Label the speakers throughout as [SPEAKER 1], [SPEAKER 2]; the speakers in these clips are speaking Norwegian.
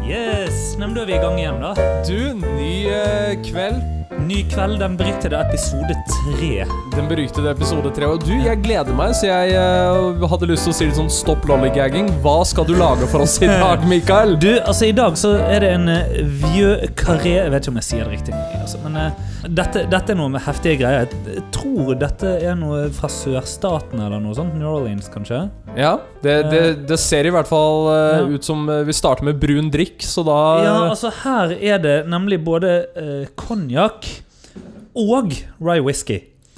[SPEAKER 1] Nei, men Da er vi i gang igjen, da.
[SPEAKER 2] Du, ny eh, kveld.
[SPEAKER 1] Ny kveld, den brytede episode tre.
[SPEAKER 2] Den beryktede episode tre. Og du, jeg gleder meg, så jeg eh, hadde lyst til å si litt sånn stopp lollygagging. Hva skal du lage for oss i dag, Mikael?
[SPEAKER 1] Du, altså I dag så er det en eh, vieux carré Jeg vet ikke om jeg sier det riktig, altså, men eh, dette, dette er noe med heftige greier. Jeg tror dette er noe fra sørstaten eller noe sånt. New Orleans, kanskje?
[SPEAKER 2] Ja, det, det,
[SPEAKER 1] Eh.
[SPEAKER 2] det ser i hvert fall eh, ut som eh, vi starter med brun drikk, så da eh,
[SPEAKER 1] Ja, altså her er det nemlig både eh, konjakk og rye whisky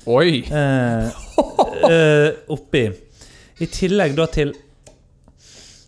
[SPEAKER 2] Oi!
[SPEAKER 1] eh, eh, oppi. I tillegg da til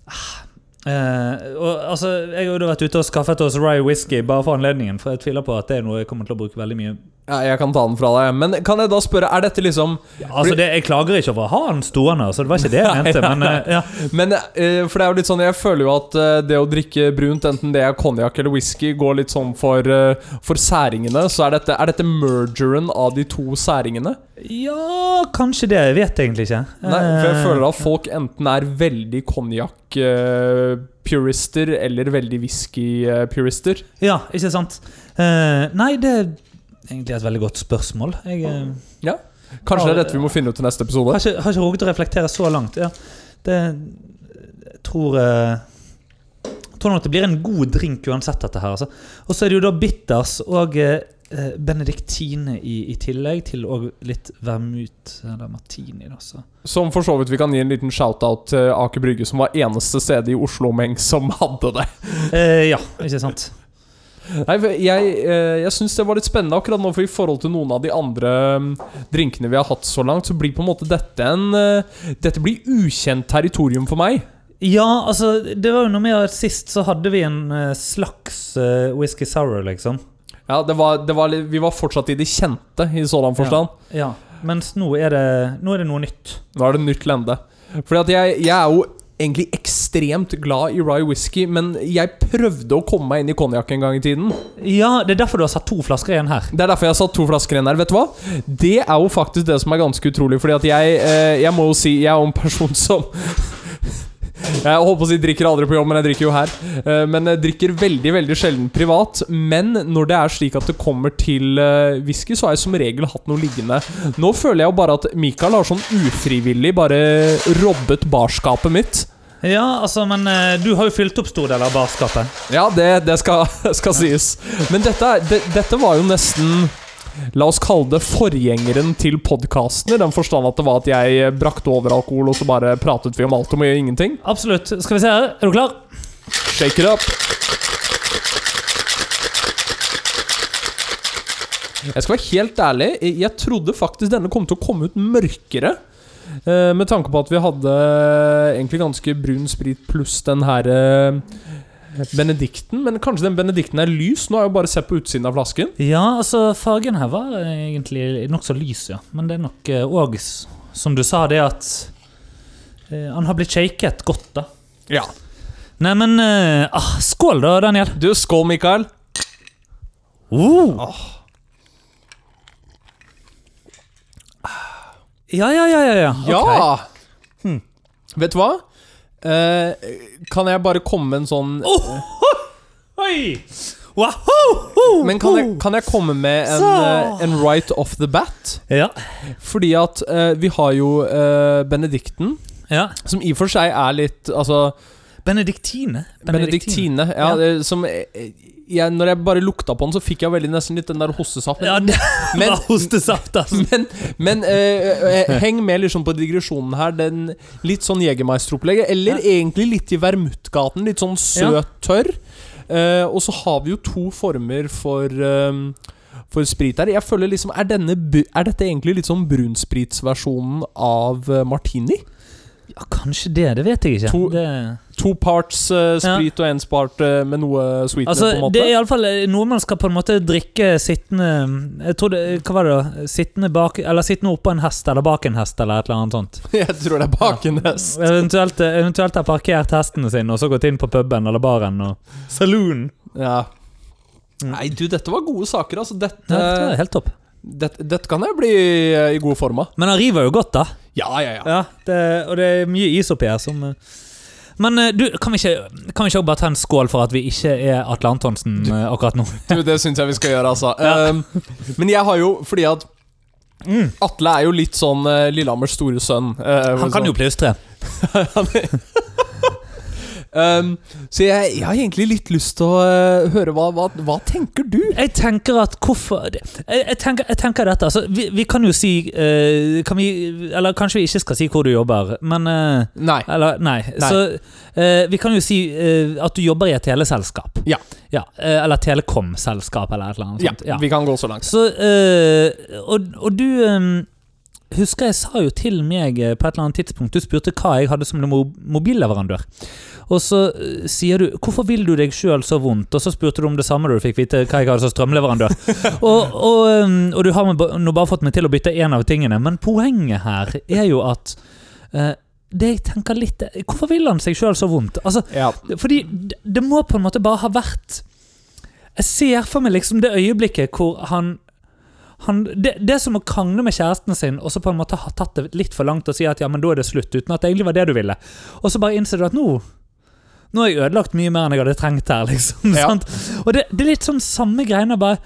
[SPEAKER 1] Ah, eh, og, altså, Jeg har jo da vært ute og skaffet oss rye whisky bare for anledningen, for jeg tviler på at det er noe jeg kommer til å bruke veldig mye
[SPEAKER 2] Ja, jeg kan ta den fra deg. Men kan jeg da spørre, er dette liksom
[SPEAKER 1] Altså, det, Jeg klager ikke over å ha den stående, så det var ikke det jeg mente. Men eh, ja.
[SPEAKER 2] Men eh, for det er jo litt sånn, jeg føler jo at eh, det å drikke brunt, enten det er konjakk eller whisky, går litt sånn for, eh, for særingene. Så er dette, er dette mergeren av de to særingene?
[SPEAKER 1] ja, kanskje det. Jeg vet egentlig ikke.
[SPEAKER 2] Nei, for jeg
[SPEAKER 1] Eh,
[SPEAKER 2] føler at folk enten er veldig konjakk-purister eller veldig eh, whisky-purister.
[SPEAKER 1] Ja, ikke sant? Eh, nei, det er egentlig et veldig godt spørsmål. Jeg eh,
[SPEAKER 2] Kanskje det er dette vi må finne ut til neste episode.
[SPEAKER 1] har, ikke, har ikke rukket å reflektere så langt. Ja. Det jeg tror eh, jeg tror nok det blir en god drink uansett, dette her. Altså. Og så er det jo da bitters og eh, eh, benediktine i, i tillegg til og litt vermut eller martini. Da, så.
[SPEAKER 2] Som for så vidt vi kan gi en liten shout-out til Aker Brygge, som var eneste stedet i Oslo-omheng som hadde det.
[SPEAKER 1] Eh, ja, ikke sant?
[SPEAKER 2] Nei, for Jeg, eh, jeg syns det var litt spennende akkurat nå, for i forhold til noen av de andre mm, drinkene vi har hatt så langt, så blir på en måte dette en eh, Dette blir ukjent territorium for meg.
[SPEAKER 1] Ja, altså, det var jo noe med at sist så hadde vi en eh, slags eh, whisky sour, liksom.
[SPEAKER 2] Ja, det var, det var, litt- Vi var fortsatt i det kjente, i sådan forstand.
[SPEAKER 1] Ja, Mens nå er det, nå er det noe nytt.
[SPEAKER 2] Nå er det nytt lende. Fordi at jeg, jeg er jo egentlig ekstremt glad i rye whisky, men jeg prøvde å komme meg inn i konjakk en gang i tiden.
[SPEAKER 1] Ja, det er derfor du har satt to flasker igjen her.
[SPEAKER 2] Det er derfor jeg har satt to flasker igjen her. Vet du hva? Det er jo faktisk det som er ganske utrolig, fordi at jeg, eh, jeg må jo si Jeg er jo en person som Jeg holdt på å si drikker aldri på jobb, men jeg drikker jo her. Eh, Men jeg drikker veldig veldig sjelden privat. Men når det er slik at det kommer til eh, whisky, så har jeg som regel hatt noe liggende. Nå føler jeg jo bare at Michael har sånn ufrivillig bare robbet barskapet mitt.
[SPEAKER 1] Ja, altså, men eh, du har jo fylt opp stor del av barskapet.
[SPEAKER 2] Ja, det, det skal, skal sies. Men dette, er- det, dette var jo nesten La oss kalle det forgjengeren til podkasten, i den forstand at det var at jeg brakte over alkohol, og så bare pratet vi om alt og mye og ingenting.
[SPEAKER 1] Absolutt. Skal vi se her. Er du klar?
[SPEAKER 2] Shake it up. Jeg skal være helt ærlig, jeg jeg trodde faktisk denne kom til å komme ut mørkere. eh, Med tanke på at vi hadde eh, egentlig ganske brun sprit pluss den her eh, Benedikten. Men kanskje den Benedikten er lys? Nå har jeg jo bare sett på utsiden av flasken.
[SPEAKER 1] Ja, altså, fargen her var egentlig nokså lys, ja. Men det er nok òg, som du sa, det at eh, Han har blitt shaket godt, da.
[SPEAKER 2] Ja.
[SPEAKER 1] Neimen uh, ah, Skål, da, Daniel.
[SPEAKER 2] Du, skål, Mikael.
[SPEAKER 1] Uh. Ja, ja, ja, ja. ja.
[SPEAKER 2] Ja! Hmm.
[SPEAKER 1] Ok.
[SPEAKER 2] Vet du hva? Eh, kan jeg bare komme med en sånn
[SPEAKER 1] Oi! Wahoo!
[SPEAKER 2] Men kan jeg, kan jeg komme med en,
[SPEAKER 1] Så.
[SPEAKER 2] eh, en right off the bat?
[SPEAKER 1] Ja.
[SPEAKER 2] Fordi at eh, vi har jo eh, Benedikten,
[SPEAKER 1] ja.
[SPEAKER 2] som i og for seg er litt Altså,
[SPEAKER 1] Benediktine.
[SPEAKER 2] Benediktine. ja,
[SPEAKER 1] Ja.
[SPEAKER 2] det- som eh, jeg, Når jeg bare lukta på den, så fikk jeg veldig nesten litt den der hostesaft.
[SPEAKER 1] Ja, det
[SPEAKER 2] Men-
[SPEAKER 1] var hostesaft, altså.
[SPEAKER 2] Men, men eh, eh, heng med liksom på digresjonen her. Den litt sånn Jegermeister-opplegget. Eller egentlig litt i Vermutgaten. Litt sånn
[SPEAKER 1] Ja.
[SPEAKER 2] søt, tørr. Eh, og så har vi jo to former for eh, for sprit her. Jeg føler liksom Er, denne, bu- er dette egentlig litt sånn brunspritversjonen av eh, martini?
[SPEAKER 1] Ja, kanskje det. Det vet jeg ikke.
[SPEAKER 2] To-
[SPEAKER 1] det...
[SPEAKER 2] To parts eh, sprit og én part eh, med noe sweetener,
[SPEAKER 1] Altså,
[SPEAKER 2] på en måte.
[SPEAKER 1] det er iallfall noe man skal på en måte drikke sittende eh, Jeg tror det, Hva var det, da? Sittende bak Eller sittende oppå en hest, eller bak en hest, eller et eller annet sånt.
[SPEAKER 2] jeg tror det er bakenes.
[SPEAKER 1] Eventuelt, eh, eventuelt har parkert hestene sine og så gått inn på puben eller baren og Saloon.
[SPEAKER 2] Ja.
[SPEAKER 1] Mm.
[SPEAKER 2] Nei, du, dette var gode saker, altså. Dette,
[SPEAKER 1] Ja, det er helt topp.
[SPEAKER 2] dette, dette kan jeg bli eh, i god form av.
[SPEAKER 1] Men han river jo godt, da.
[SPEAKER 2] Ja, ja, ja.
[SPEAKER 1] Ja, det, og det er mye is oppi her som eh, Men eh, du, kan vi ikke, kan vi ikke også bare ta en skål for at vi ikke er Atle Antonsen eh, akkurat nå?
[SPEAKER 2] Du, det syns jeg vi skal gjøre, altså.
[SPEAKER 1] Ja.
[SPEAKER 2] Um, men jeg har jo Fordi at
[SPEAKER 1] Mm.
[SPEAKER 2] Atle er jo litt sånn eh, Lillehammers store sønn. eh,
[SPEAKER 1] Han kan
[SPEAKER 2] sånn.
[SPEAKER 1] jo plystre.
[SPEAKER 2] um, så jeg, jeg har egentlig litt lyst til å eh, høre hva, hva, hva tenker du?
[SPEAKER 1] Jeg tenker at hvorfor Jeg, jeg, tenker, jeg tenker dette. Altså, vi, vi kan jo si eh, kan vi, Eller kanskje vi ikke skal si hvor du jobber, men eh,
[SPEAKER 2] Nei.
[SPEAKER 1] Eller, nei.
[SPEAKER 2] Nei.
[SPEAKER 1] Så eh, vi kan jo si eh, at du jobber i et teleselskap.
[SPEAKER 2] Ja.
[SPEAKER 1] eh, eller telekomselskap, eller et eller annet.
[SPEAKER 2] Ja,
[SPEAKER 1] sånt. Ja.
[SPEAKER 2] vi kan gå så langt.
[SPEAKER 1] Så eh, og, og du eh, Husker jeg sa jo til meg eh, på et eller annet tidspunkt Du spurte hva jeg hadde som mo- mobilleverandør. Og så eh, sier du 'Hvorfor vil du deg sjøl så vondt?' Og så spurte du om det samme da du fikk vite hva jeg hadde som strømleverandør. og, og, eh, og du har ba- nå bare fått meg til å bytte én av tingene, men poenget her er jo at eh, det jeg tenker litt er, Hvorfor vil han seg sjøl så vondt? Altså,
[SPEAKER 2] Ja.
[SPEAKER 1] fordi det, det må på en måte bare ha vært Jeg ser for meg liksom det øyeblikket hvor han han, det, det er som å krangle med kjæresten sin og så på en måte ha tatt det litt for langt og si at ja, men da er det slutt, uten at det egentlig var det du ville. Og så bare innser du at nå Nå har jeg ødelagt mye mer enn jeg hadde trengt her. liksom,
[SPEAKER 2] Ja.
[SPEAKER 1] sant? Og det, det er litt sånn samme greiene. bare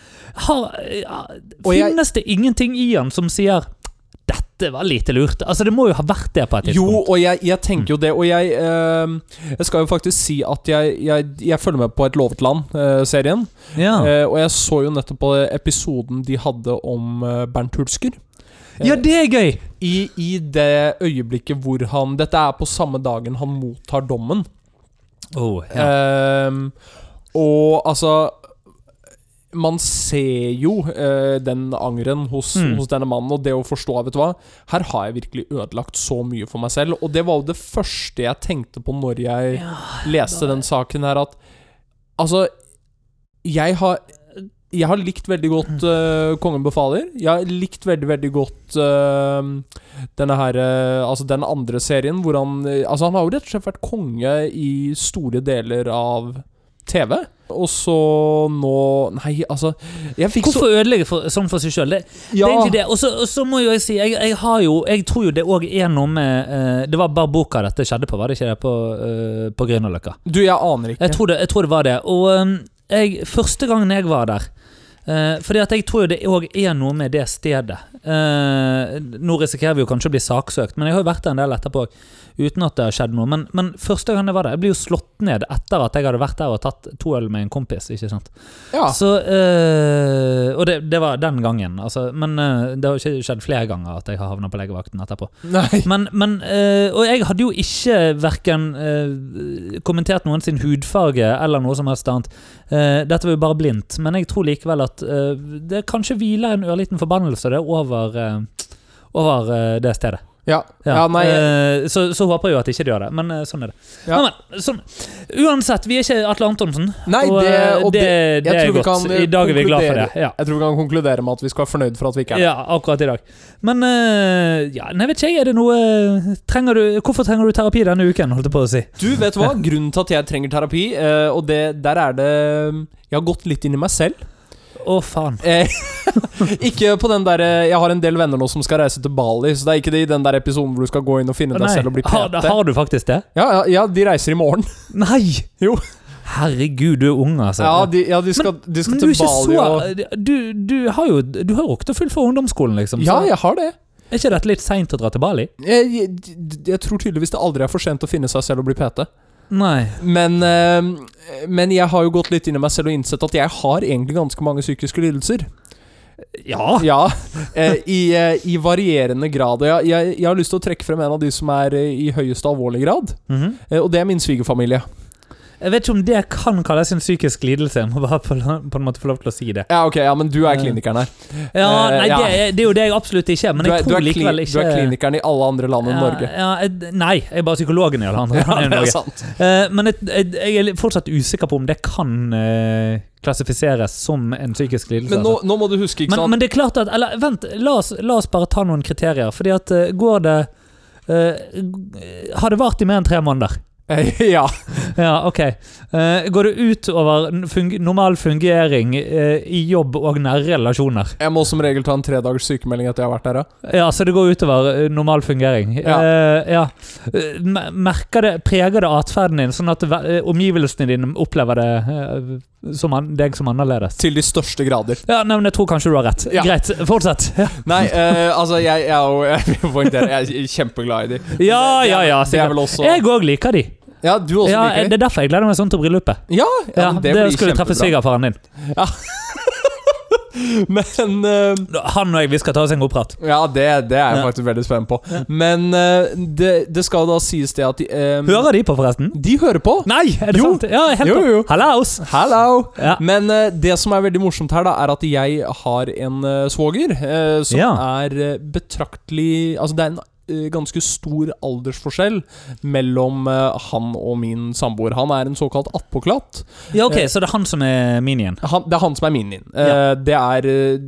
[SPEAKER 1] har, ja,
[SPEAKER 2] Og jeg-
[SPEAKER 1] Finnes det ingenting i han som sier 'dette var lite lurt'? Altså, Det må jo ha vært det på et
[SPEAKER 2] Jo,
[SPEAKER 1] tidspunkt.
[SPEAKER 2] og jeg, jeg tenker jo det, og jeg ehm, Jeg skal jo faktisk si at jeg, jeg, jeg følger med på Et lovet eh, land-serien.
[SPEAKER 1] Ja.
[SPEAKER 2] Eh, og jeg så jo nettopp på episoden de hadde om eh, Bernt Hulsker. eh,
[SPEAKER 1] ja, det er gøy!
[SPEAKER 2] I, I det øyeblikket hvor han Dette er på samme dagen han mottar dommen.
[SPEAKER 1] Oh, ja.
[SPEAKER 2] Ehm, og altså Man ser jo eh, den angeren hos,
[SPEAKER 1] Mm.
[SPEAKER 2] hos denne mannen, og det å forstå vet du hva Her har jeg virkelig ødelagt så mye for meg selv. Og det var jo det første jeg tenkte på når jeg
[SPEAKER 1] Ja,
[SPEAKER 2] leste
[SPEAKER 1] da-
[SPEAKER 2] den saken her, at Altså, jeg har jeg har likt veldig godt eh, Kongen befaler. Jeg har likt veldig, veldig godt eh, denne her eh, Altså den andre serien hvor han eh, Altså, han har jo rett og slett vært konge i store deler av TV. Og så nå Nei, altså Jeg fikk
[SPEAKER 1] Hvorfor ødelegge for, sånn for seg sjøl? Det,
[SPEAKER 2] så
[SPEAKER 1] det er egentlig det. Og så- Og så må jo jeg si Jeg, jeg, har jo, jeg tror jo det òg er noe med eh, Det var bare boka dette skjedde på, var det ikke det? På, uh, på Grünerløkka.
[SPEAKER 2] Du, jeg aner ikke.
[SPEAKER 1] Jeg, tror det- jeg tror det var det. Og eh, jeg, første gangen jeg var der eh, fordi at jeg tror jo det òg er noe med det stedet. Eh, nå risikerer vi jo kanskje å bli saksøkt, men jeg har jo vært der en del etterpå uten at det har skjedd noe. Men, men første gang jeg var der, jeg ble jo slått ned etter at jeg hadde vært der og tatt to øl med en kompis. ikke sant?
[SPEAKER 2] ja.
[SPEAKER 1] Så, eh, og det, det var den gangen, altså, men eh, det har ikke skjedd flere ganger at jeg har havna på legevakten etterpå.
[SPEAKER 2] Nei.
[SPEAKER 1] Men, men, eh, og jeg hadde jo ikke verken eh, kommentert noen sin hudfarge eller noe som helst annet. Eh, dette var jo bare blindt, men jeg tror likevel at eh, det kanskje hviler en ørliten forbannelse det over, eh, over eh, det stedet.
[SPEAKER 2] Ja. ja. nei.
[SPEAKER 1] Eh, så, så håper jeg jo at ikke det gjør det, men eh, sånn er det.
[SPEAKER 2] Ja.
[SPEAKER 1] Men, men, sånn. Uansett, vi er ikke Atle Antonsen.
[SPEAKER 2] nei
[SPEAKER 1] og,
[SPEAKER 2] det,
[SPEAKER 1] eh,
[SPEAKER 2] og
[SPEAKER 1] det,
[SPEAKER 2] det
[SPEAKER 1] det,
[SPEAKER 2] jeg
[SPEAKER 1] er
[SPEAKER 2] tror vi
[SPEAKER 1] godt.
[SPEAKER 2] kan, eh,
[SPEAKER 1] I dag er vi glad for det.
[SPEAKER 2] konkludere-
[SPEAKER 1] Ja.
[SPEAKER 2] Jeg tror vi kan konkludere med at vi skal være fornøyd for at vi ikke er det.
[SPEAKER 1] ja, akkurat i dag. Men eh, ja, nei, vet ikke jeg, er det noe eh, trenger du, Hvorfor trenger du terapi denne uken, holdt jeg på å si?
[SPEAKER 2] Du, vet du hva? Grunnen til at jeg trenger terapi, eh, og det, der er det Jeg har gått litt inn i meg selv.
[SPEAKER 1] Å, faen.
[SPEAKER 2] Eh, ikke på den der eh, Jeg har en del venner nå som skal reise til Bali, så det er ikke det i den der episoden hvor du skal gå inn og
[SPEAKER 1] Å,
[SPEAKER 2] finne deg
[SPEAKER 1] nei.
[SPEAKER 2] selv og bli
[SPEAKER 1] Har,
[SPEAKER 2] PT.
[SPEAKER 1] har du faktisk det?
[SPEAKER 2] Ja, ja, ja, de reiser i morgen.
[SPEAKER 1] Nei!
[SPEAKER 2] Jo.
[SPEAKER 1] Herregud, du er ung, altså.
[SPEAKER 2] Ja, de, ja, de skal, de skal
[SPEAKER 1] Men du
[SPEAKER 2] til
[SPEAKER 1] er ikke
[SPEAKER 2] Bali
[SPEAKER 1] så
[SPEAKER 2] og
[SPEAKER 1] du, du har jo Du har jo rukket å fullføre ungdomsskolen, liksom.
[SPEAKER 2] Ja,
[SPEAKER 1] så
[SPEAKER 2] jeg har det.
[SPEAKER 1] Er ikke dette litt seint å dra til Bali?
[SPEAKER 2] Jeg, jeg, jeg tror tydeligvis det aldri er for sent å finne seg selv og bli PT.
[SPEAKER 1] Nei.
[SPEAKER 2] Men, eh, men jeg har jo gått litt inn i meg selv og innsett at jeg har egentlig ganske mange psykiske lidelser.
[SPEAKER 1] Ja.
[SPEAKER 2] Ja, eh, i, eh, i varierende grad. Og jeg, jeg, jeg har lyst til å trekke frem en av de som er eh, i høyeste alvorlig grad.
[SPEAKER 1] Mhm.
[SPEAKER 2] Eh, og det er min svigerfamilie.
[SPEAKER 1] Jeg vet ikke om det kan kalles en psykisk lidelse. Jeg må bare på, på en måte få lov til å si det.
[SPEAKER 2] Ja, ok, ja, men du er
[SPEAKER 1] Eh,
[SPEAKER 2] klinikeren her.
[SPEAKER 1] Ja,
[SPEAKER 2] Eh,
[SPEAKER 1] nei,
[SPEAKER 2] ja.
[SPEAKER 1] det, er- det er jo det jeg absolutt ikke er, men
[SPEAKER 2] du er,
[SPEAKER 1] jeg
[SPEAKER 2] du,
[SPEAKER 1] tror
[SPEAKER 2] er kli,
[SPEAKER 1] likevel
[SPEAKER 2] du
[SPEAKER 1] ikke
[SPEAKER 2] er klinikeren i alle andre land enn
[SPEAKER 1] ja,
[SPEAKER 2] Norge.
[SPEAKER 1] Ja, jeg- nei, jeg er bare psykologen i alle andre.
[SPEAKER 2] Ja, altså. det er
[SPEAKER 1] Norge.
[SPEAKER 2] sant.
[SPEAKER 1] Eh, men jeg, jeg, jeg er litt- fortsatt usikker på om det kan eh, klassifiseres som en psykisk lidelse. altså.
[SPEAKER 2] Men nå, nå må du huske, ikke
[SPEAKER 1] men,
[SPEAKER 2] sant
[SPEAKER 1] men det er klart at Eller vent, la oss, la oss bare ta noen kriterier. Fordi at eh, går det eh, g- Har det vart i mer enn tre måneder?
[SPEAKER 2] Eh, Ja.
[SPEAKER 1] Ja, ok. Eh, går det ut over fung normal fungering eh, i jobb og nære relasjoner?
[SPEAKER 2] Jeg må som regel ta en tredagers sykemelding etter jeg har vært der, ja.
[SPEAKER 1] Ja, så det går utover eh, normal fungering.
[SPEAKER 2] Ja.
[SPEAKER 1] Eh, ja. Eh, mer- Merker det, preger det atferden din, sånn at ve- eh, omgivelsene dine opplever det eh, som an deg som annerledes?
[SPEAKER 2] Til de største grader.
[SPEAKER 1] Ja, nei, men jeg tror kanskje du har rett.
[SPEAKER 2] Ja.
[SPEAKER 1] Greit, fortsett. Ja,
[SPEAKER 2] Nei, eh, altså, jeg, jeg, er jo- jeg, vil poengtere, jeg er kjempeglad i de.
[SPEAKER 1] ja,
[SPEAKER 2] Det er-
[SPEAKER 1] Ah, ja. ja
[SPEAKER 2] Det er
[SPEAKER 1] sikkert.
[SPEAKER 2] vel også
[SPEAKER 1] Jeg òg liker de.
[SPEAKER 2] Ja, du også
[SPEAKER 1] Ja,
[SPEAKER 2] liker
[SPEAKER 1] det
[SPEAKER 2] de.
[SPEAKER 1] er derfor jeg gleder meg sånn til bryllupet.
[SPEAKER 2] Ja,
[SPEAKER 1] Ja,
[SPEAKER 2] ja, men
[SPEAKER 1] det
[SPEAKER 2] blir
[SPEAKER 1] skulle treffe
[SPEAKER 2] kjempebra.
[SPEAKER 1] svigerfaren din.
[SPEAKER 2] Men eh,
[SPEAKER 1] Han og jeg, vi skal ta oss en god prat.
[SPEAKER 2] Ja, det, det er jeg
[SPEAKER 1] Ja.
[SPEAKER 2] faktisk veldig spent på. Men eh, det, det skal jo da sies det at de, eh,
[SPEAKER 1] Hører de på, forresten?
[SPEAKER 2] de hører på!
[SPEAKER 1] Nei, er det
[SPEAKER 2] Jo.
[SPEAKER 1] sant? Ja, helt
[SPEAKER 2] Jo,
[SPEAKER 1] opp.
[SPEAKER 2] jo.
[SPEAKER 1] Hallaus!
[SPEAKER 2] Hello!
[SPEAKER 1] Ja.
[SPEAKER 2] Men eh, det som er veldig morsomt her, da, er at jeg har en eh, svoger eh, som
[SPEAKER 1] Ja.
[SPEAKER 2] er eh, betraktelig Altså, det er en eh, ganske stor aldersforskjell mellom eh, han og min samboer. Han er en såkalt attpåklatt.
[SPEAKER 1] Ja, ok, så det er han som er minien.
[SPEAKER 2] Han, det er han som er min inn.
[SPEAKER 1] Ja.
[SPEAKER 2] det er eh,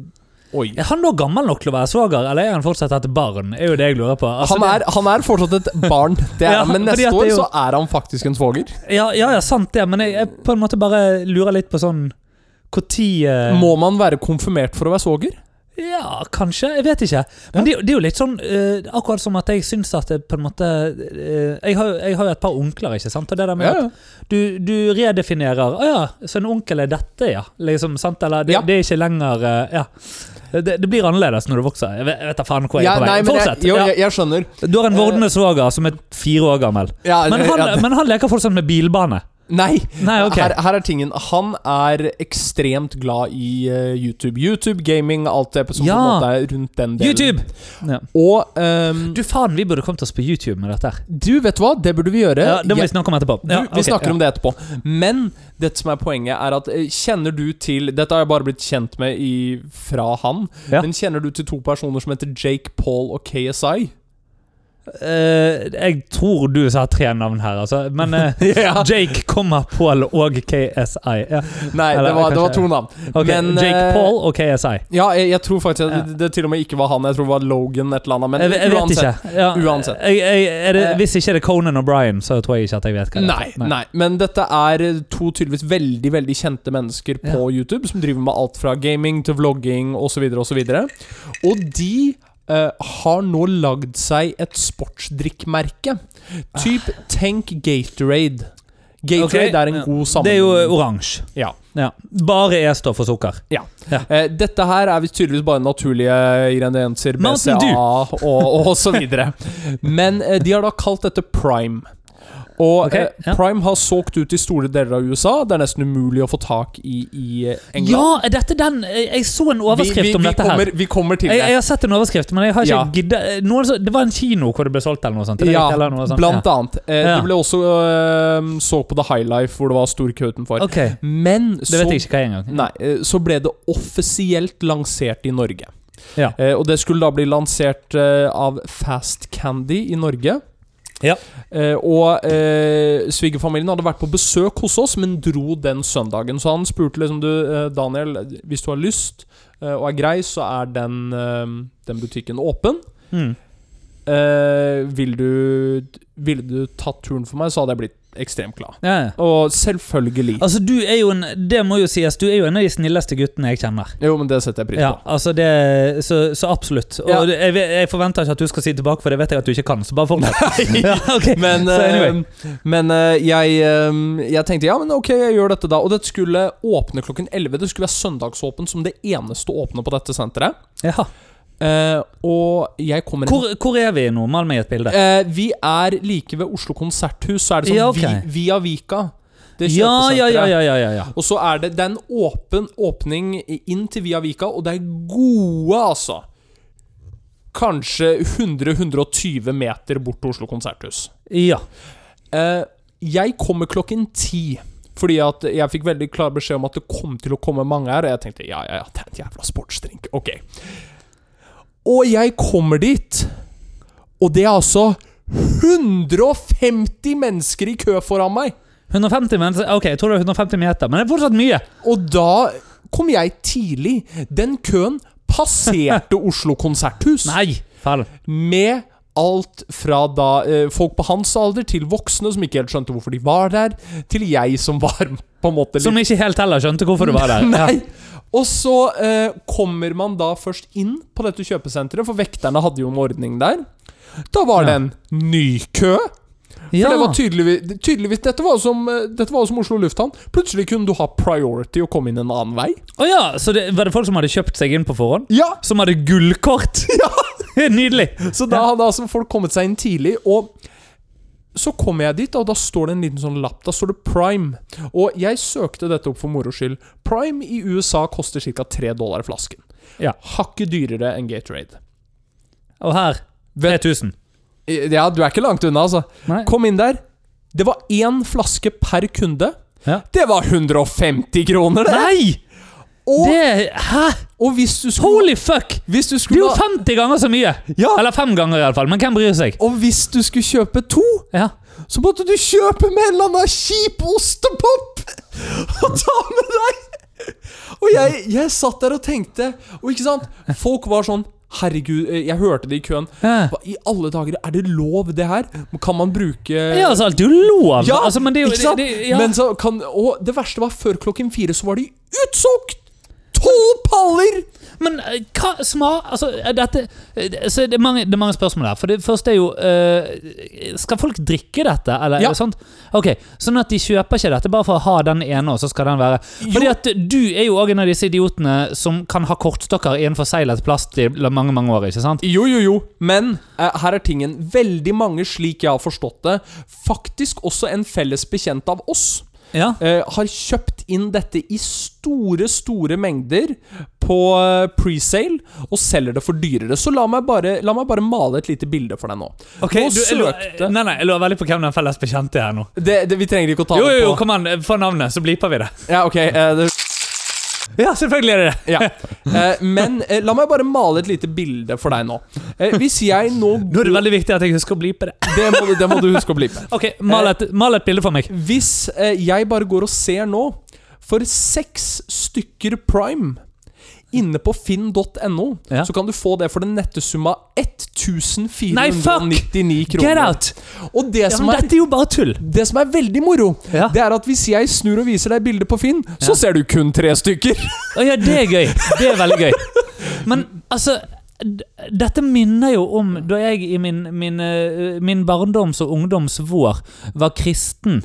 [SPEAKER 2] Oi.
[SPEAKER 1] Er han da gammel nok til å være svoger, eller er han fortsatt et barn? Er jo det jeg lurer på. Altså,
[SPEAKER 2] han, er, han er fortsatt et barn, det er,
[SPEAKER 1] Ja,
[SPEAKER 2] men
[SPEAKER 1] fordi
[SPEAKER 2] neste
[SPEAKER 1] at det
[SPEAKER 2] år
[SPEAKER 1] er jo-
[SPEAKER 2] så er han faktisk en svoger.
[SPEAKER 1] det, ja, ja, ja, sant det, men jeg, jeg på en måte bare lurer litt på sånn Når Eh.
[SPEAKER 2] Må man være konfirmert for å være svoger?
[SPEAKER 1] Ja, kanskje. Jeg vet ikke. Men det, er jo- det er jo litt sånn eh, Akkurat som at jeg syns at det på en måte eh, jeg, har, jo- jeg har jo et par onkler, ikke sant. Og det der med at du, du redefinerer Å ja, så en onkel er dette, ja. Liksom, sant? Eller det,
[SPEAKER 2] Ja.
[SPEAKER 1] det er ikke lenger eh, Ja. Det, det blir annerledes når du vokser. Jeg vet, jeg vet da faen hvor jeg
[SPEAKER 2] Ja,
[SPEAKER 1] er på vei.
[SPEAKER 2] nei, men
[SPEAKER 1] Fortsett.
[SPEAKER 2] jeg, jo,
[SPEAKER 1] ja.
[SPEAKER 2] jeg, jeg skjønner.
[SPEAKER 1] Du har en vordende svoger som er fire år gammel.
[SPEAKER 2] Ja,
[SPEAKER 1] Men
[SPEAKER 2] ja,
[SPEAKER 1] han,
[SPEAKER 2] det-
[SPEAKER 1] men han leker fortsatt med bilbane.
[SPEAKER 2] nei,
[SPEAKER 1] Nei, ok.
[SPEAKER 2] her, her er tingen. Han er ekstremt glad i eh, YouTube. YouTube, gaming, alt det som på en
[SPEAKER 1] Ja.
[SPEAKER 2] måte er rundt den delen.
[SPEAKER 1] YouTube!
[SPEAKER 2] Og ehm,
[SPEAKER 1] Du faen, vi burde kommet oss på YouTube med dette. her
[SPEAKER 2] du, vet du hva? Det burde vi gjøre.
[SPEAKER 1] Ja, Det må
[SPEAKER 2] Jeg-
[SPEAKER 1] vi snakke om etterpå.
[SPEAKER 2] Du,
[SPEAKER 1] Ja,
[SPEAKER 2] vi snakker om det etterpå. Men dette som er poenget, er at eh, kjenner du til Dette har jeg bare blitt kjent med i, fra han.
[SPEAKER 1] Ja.
[SPEAKER 2] Men kjenner du til to personer som heter Jake Paul og KSI?
[SPEAKER 1] Eh, Jeg tror du sa tre navn her, altså. Men eh,
[SPEAKER 2] Ja.
[SPEAKER 1] Jake, komma, Paul og KSI. Ja.
[SPEAKER 2] Nei, det
[SPEAKER 1] Eller
[SPEAKER 2] var, det
[SPEAKER 1] kanskje-
[SPEAKER 2] var to navn.
[SPEAKER 1] Ok,
[SPEAKER 2] Men,
[SPEAKER 1] Jake
[SPEAKER 2] eh,
[SPEAKER 1] Paul og KSI.
[SPEAKER 2] Ja, jeg, jeg tror faktisk at
[SPEAKER 1] Ja.
[SPEAKER 2] det, det til og med ikke var han. Jeg tror det var Logan et eller annet. Men
[SPEAKER 1] Jeg, jeg vet
[SPEAKER 2] uansett.
[SPEAKER 1] ikke. Ja,
[SPEAKER 2] uansett.
[SPEAKER 1] Jeg, jeg, er det,
[SPEAKER 2] Eh,
[SPEAKER 1] hvis ikke det er Conan og Brian, så tror jeg ikke at jeg vet hva det er.
[SPEAKER 2] Nei, nei, men dette er eh, to tydeligvis veldig veldig kjente mennesker på YouTube som driver med alt fra gaming til vlogging osv. Og, så videre. og de eh, har nå lagd seg et sportsdrikkmerke. Typ tenk Gatorade. Gatorade
[SPEAKER 1] Ah. Ok,
[SPEAKER 2] er en
[SPEAKER 1] ja.
[SPEAKER 2] god
[SPEAKER 1] Det er jo
[SPEAKER 2] sammenheng.
[SPEAKER 1] oransje.
[SPEAKER 2] Ja.
[SPEAKER 1] Ja. Bare E står for sukker.
[SPEAKER 2] Eh, dette her er visst tydeligvis bare naturlige ingredienser,
[SPEAKER 1] Mountain
[SPEAKER 2] BCA og, og så videre. Men eh, de har da kalt dette prime. Og
[SPEAKER 1] Ok,
[SPEAKER 2] eh,
[SPEAKER 1] ja.
[SPEAKER 2] prime har solgt ut i store deler av USA. Det er nesten umulig å få tak i i eh, England.
[SPEAKER 1] Ja, er dette den Jeg jeg så en overskrift om dette her.
[SPEAKER 2] kommer, Vi kommer til
[SPEAKER 1] Jeg, jeg
[SPEAKER 2] det.
[SPEAKER 1] har sett en overskrift, men jeg har ikke
[SPEAKER 2] Ja.
[SPEAKER 1] giddet noen, så- Det var en kino hvor det ble solgt, eller noe sånt. er det
[SPEAKER 2] Ja,
[SPEAKER 1] riktig, eller noe sånt?
[SPEAKER 2] blant annet. Eh,
[SPEAKER 1] Ja.
[SPEAKER 2] Det ble også eh, så på The High Life, hvor det var stor kø utenfor.
[SPEAKER 1] Ok, Det
[SPEAKER 2] Men så,
[SPEAKER 1] vet jeg ikke hva er engang.
[SPEAKER 2] nei, eh, så ble det offisielt lansert i Norge.
[SPEAKER 1] Ja.
[SPEAKER 2] Eh, og det skulle da bli lansert eh, av Fast Candy i Norge.
[SPEAKER 1] Ja.
[SPEAKER 2] Eh, og eh, svigerfamilien hadde vært på besøk hos oss, men dro den søndagen. Så han spurte liksom du, eh, Daniel, hvis du har lyst eh, og er grei, så er den, eh, den butikken åpen.
[SPEAKER 1] Mm.
[SPEAKER 2] Eh, vil du, ville du tatt turen for meg, så hadde jeg blitt ekstremt glad.
[SPEAKER 1] Ja, ja.
[SPEAKER 2] Og selvfølgelig.
[SPEAKER 1] Altså, du er jo en Det må jo sies, du er jo en av de snilleste guttene jeg kjenner.
[SPEAKER 2] Jo, men det setter jeg pris
[SPEAKER 1] Ja,
[SPEAKER 2] på.
[SPEAKER 1] altså det, så, så absolutt. Og
[SPEAKER 2] Ja.
[SPEAKER 1] det- jeg, vet- jeg forventer ikke at du skal si tilbake, for det vet jeg at du ikke kan. Så bare fortsett. Ja, ok.
[SPEAKER 2] Men,
[SPEAKER 1] Så anyway.
[SPEAKER 2] eh, men eh, jeg, eh, jeg tenkte ja, men ok, jeg gjør dette da. Og dette skulle åpne klokken 11. Det skulle være søndagsåpent som det eneste åpne på dette senteret.
[SPEAKER 1] Jaha.
[SPEAKER 2] Eh, og jeg kommer
[SPEAKER 1] Hvor, hvor er vi nå? Mal meg et bilde.
[SPEAKER 2] Eh, vi er like ved Oslo Konserthus, så er det sånn
[SPEAKER 1] Ja, ok.
[SPEAKER 2] vi, Via Vika. Det
[SPEAKER 1] Ja, ja, ja,
[SPEAKER 2] kjøpesenteret.
[SPEAKER 1] ja, ja, ja, ja.
[SPEAKER 2] Og så er det, det er en åpen åpning inn til Via Vika, og det er gode, altså. Kanskje 100-120 meter bort til Oslo Konserthus.
[SPEAKER 1] Ja.
[SPEAKER 2] Eh, jeg kommer klokken ti. Fordi at jeg fikk veldig klar beskjed om at det kom til å komme mange her. Og jeg tenkte ja, ja, ja, det er en jævla sportsdrink. Ok. Og jeg kommer dit, og det er altså 150 mennesker i kø foran meg.
[SPEAKER 1] 150 mennesker Ok, jeg tror det er 150 meter, men det er fortsatt mye.
[SPEAKER 2] Og da kom jeg tidlig. Den køen passerte Oslo konserthus
[SPEAKER 1] Nei! Fæl.
[SPEAKER 2] med Alt fra da eh, folk på hans alder, til voksne som ikke helt skjønte hvorfor de var der, til jeg som var på en måte litt
[SPEAKER 1] Som ikke helt heller skjønte hvorfor du var der. Ja.
[SPEAKER 2] Nei! Og så eh, kommer man da først inn på dette kjøpesenteret, for vekterne hadde jo en ordning der. Da var det
[SPEAKER 1] Ja.
[SPEAKER 2] en ny kø. For
[SPEAKER 1] Ja.
[SPEAKER 2] det var tydeligvis, tydeligvis Dette var som, eh, dette var som Oslo lufthavn. Plutselig kunne du ha priority og komme inn en annen vei.
[SPEAKER 1] Å ja, så det, var det folk som hadde kjøpt seg inn på forhånd?
[SPEAKER 2] Ja,
[SPEAKER 1] Som hadde gullkort? Nydelig!
[SPEAKER 2] Så da hadde altså folk kommet seg inn tidlig, og så kommer jeg dit, og da står det en liten sånn lapp. Da står det Prime. Og jeg søkte dette opp for moro skyld. Prime i USA koster ca. 3 dollar flasken.
[SPEAKER 1] Ja.
[SPEAKER 2] Hakket dyrere enn Gatorade.
[SPEAKER 1] Og her
[SPEAKER 2] Vet-
[SPEAKER 1] 3000.
[SPEAKER 2] Ja, du er ikke langt unna, altså.
[SPEAKER 1] Nei.
[SPEAKER 2] Kom inn der. Det var én flaske per kunde.
[SPEAKER 1] Ja.
[SPEAKER 2] Det var 150 kroner, det!
[SPEAKER 1] Nei!
[SPEAKER 2] Og,
[SPEAKER 1] Det Hæ?
[SPEAKER 2] og hvis du skulle,
[SPEAKER 1] Holy fuck!
[SPEAKER 2] hvis du
[SPEAKER 1] Det er jo
[SPEAKER 2] skulle
[SPEAKER 1] 50 ganger så mye!
[SPEAKER 2] Ja,
[SPEAKER 1] Eller fem ganger, iallfall. Men hvem bryr seg?
[SPEAKER 2] og hvis du skulle kjøpe to,
[SPEAKER 1] Ja.
[SPEAKER 2] så måtte du kjøpe med en eller annen kjip ostepop og ta med deg! Og jeg, jeg satt der og tenkte, og ikke sant Folk var sånn Herregud, eh, jeg hørte det i køen.
[SPEAKER 1] Ja.
[SPEAKER 2] Hva I alle dager, er det lov, det her? Kan man bruke
[SPEAKER 1] Ja, altså, alt er jo lov!
[SPEAKER 2] Ja,
[SPEAKER 1] altså, men det er jo,
[SPEAKER 2] ikke sant?
[SPEAKER 1] Det, det, ja.
[SPEAKER 2] Men så kan, og det verste var før klokken fire så var de utsolgt! Tolv paller!
[SPEAKER 1] Men eh, hva smak Altså, eh, dette eh, det- så det, er mange, det er mange spørsmål her. For det første er jo eh, Skal folk drikke dette, eller
[SPEAKER 2] Ja.
[SPEAKER 1] sånt? Ok, Sånn at de kjøper ikke dette bare for å ha den ene, og så skal den være Fordi
[SPEAKER 2] Jo.
[SPEAKER 1] at du er jo òg en av disse idiotene som kan ha kortstokker i en forseglet plast i la- mange, mange år, ikke sant?
[SPEAKER 2] Jo, jo, jo, men eh, her er tingen. Veldig mange, slik jeg har forstått det, faktisk også en felles bekjent av oss,
[SPEAKER 1] Ja.
[SPEAKER 2] eh, har kjøpt inn dette i store, store mengder på eh, presale og selger det for dyrere. Så la meg bare, la meg bare male et lite bilde for deg nå.
[SPEAKER 1] Ok,
[SPEAKER 2] nå
[SPEAKER 1] du, jeg lurer-
[SPEAKER 2] søkte
[SPEAKER 1] Nei, nei, jeg lurer veldig på hvem den felles bekjente er nå.
[SPEAKER 2] det, det, Vi trenger ikke å ta
[SPEAKER 1] Jo, jo, jo,
[SPEAKER 2] det på.
[SPEAKER 1] kom an, eh, få navnet, så bliper vi det.
[SPEAKER 2] Ja, ok, eh, det
[SPEAKER 1] Ja, selvfølgelig er det det.
[SPEAKER 2] Ja. Eh, men eh, la meg bare male et lite bilde for deg nå. Eh, hvis jeg nå
[SPEAKER 1] Nå er det veldig viktig at jeg husker å blipe det.
[SPEAKER 2] det må, du- det må du huske å bli med.
[SPEAKER 1] Ok, Mal et, mal et bilde for meg.
[SPEAKER 2] Hvis eh, jeg bare går og ser nå For seks stykker prime inne på finn.no,
[SPEAKER 1] Ja.
[SPEAKER 2] så kan du få det for den nette summa
[SPEAKER 1] Nei, fuck!
[SPEAKER 2] 1499
[SPEAKER 1] Get
[SPEAKER 2] kroner.
[SPEAKER 1] out!
[SPEAKER 2] Og det
[SPEAKER 1] Ja,
[SPEAKER 2] som
[SPEAKER 1] men
[SPEAKER 2] er
[SPEAKER 1] dette er jo bare tull.
[SPEAKER 2] det som er veldig moro,
[SPEAKER 1] Ja.
[SPEAKER 2] det er at hvis jeg snur og viser deg bildet på Finn, så ser du kun tre stykker.
[SPEAKER 1] Å ja, det er gøy. Det er veldig gøy. Men altså d- dette minner jo om da jeg i min, min, eh, min barndoms- og ungdomsvår var kristen.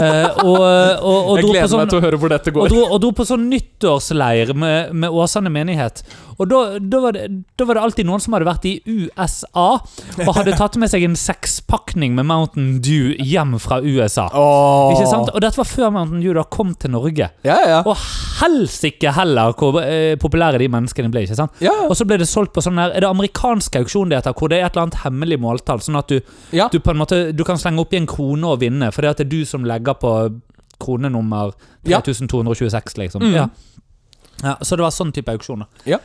[SPEAKER 1] eh, og, og, og
[SPEAKER 2] Jeg
[SPEAKER 1] dro på
[SPEAKER 2] gleder
[SPEAKER 1] sånn
[SPEAKER 2] meg til å høre hvor dette
[SPEAKER 1] og
[SPEAKER 2] går.
[SPEAKER 1] dro, og dro på sånn nyttårsleir med, med Åsane menighet. Og da, da, var det, da var det alltid noen som hadde vært i USA og hadde tatt med seg en sekspakning med Mountain Dew hjem fra USA. Ikke sant? Og dette var før Mountain Dew da kom til Norge.
[SPEAKER 2] Ja, ja.
[SPEAKER 1] Og helsike heller hvor eh, populære de menneskene ble. ikke sant?
[SPEAKER 2] ja.
[SPEAKER 1] Og så ble det solgt på sånn her, Er det amerikansk auksjon det heter, hvor det er et eller annet hemmelig måltall? Sånn at du,
[SPEAKER 2] Ja.
[SPEAKER 1] du på en måte Du kan slenge oppi en krone og vinne, for det at det er du som legger på kronenummer
[SPEAKER 2] Ja.
[SPEAKER 1] 3226, liksom.
[SPEAKER 2] Mm.
[SPEAKER 1] Ja. Ja, så det var sånn type auksjoner.
[SPEAKER 2] Ja.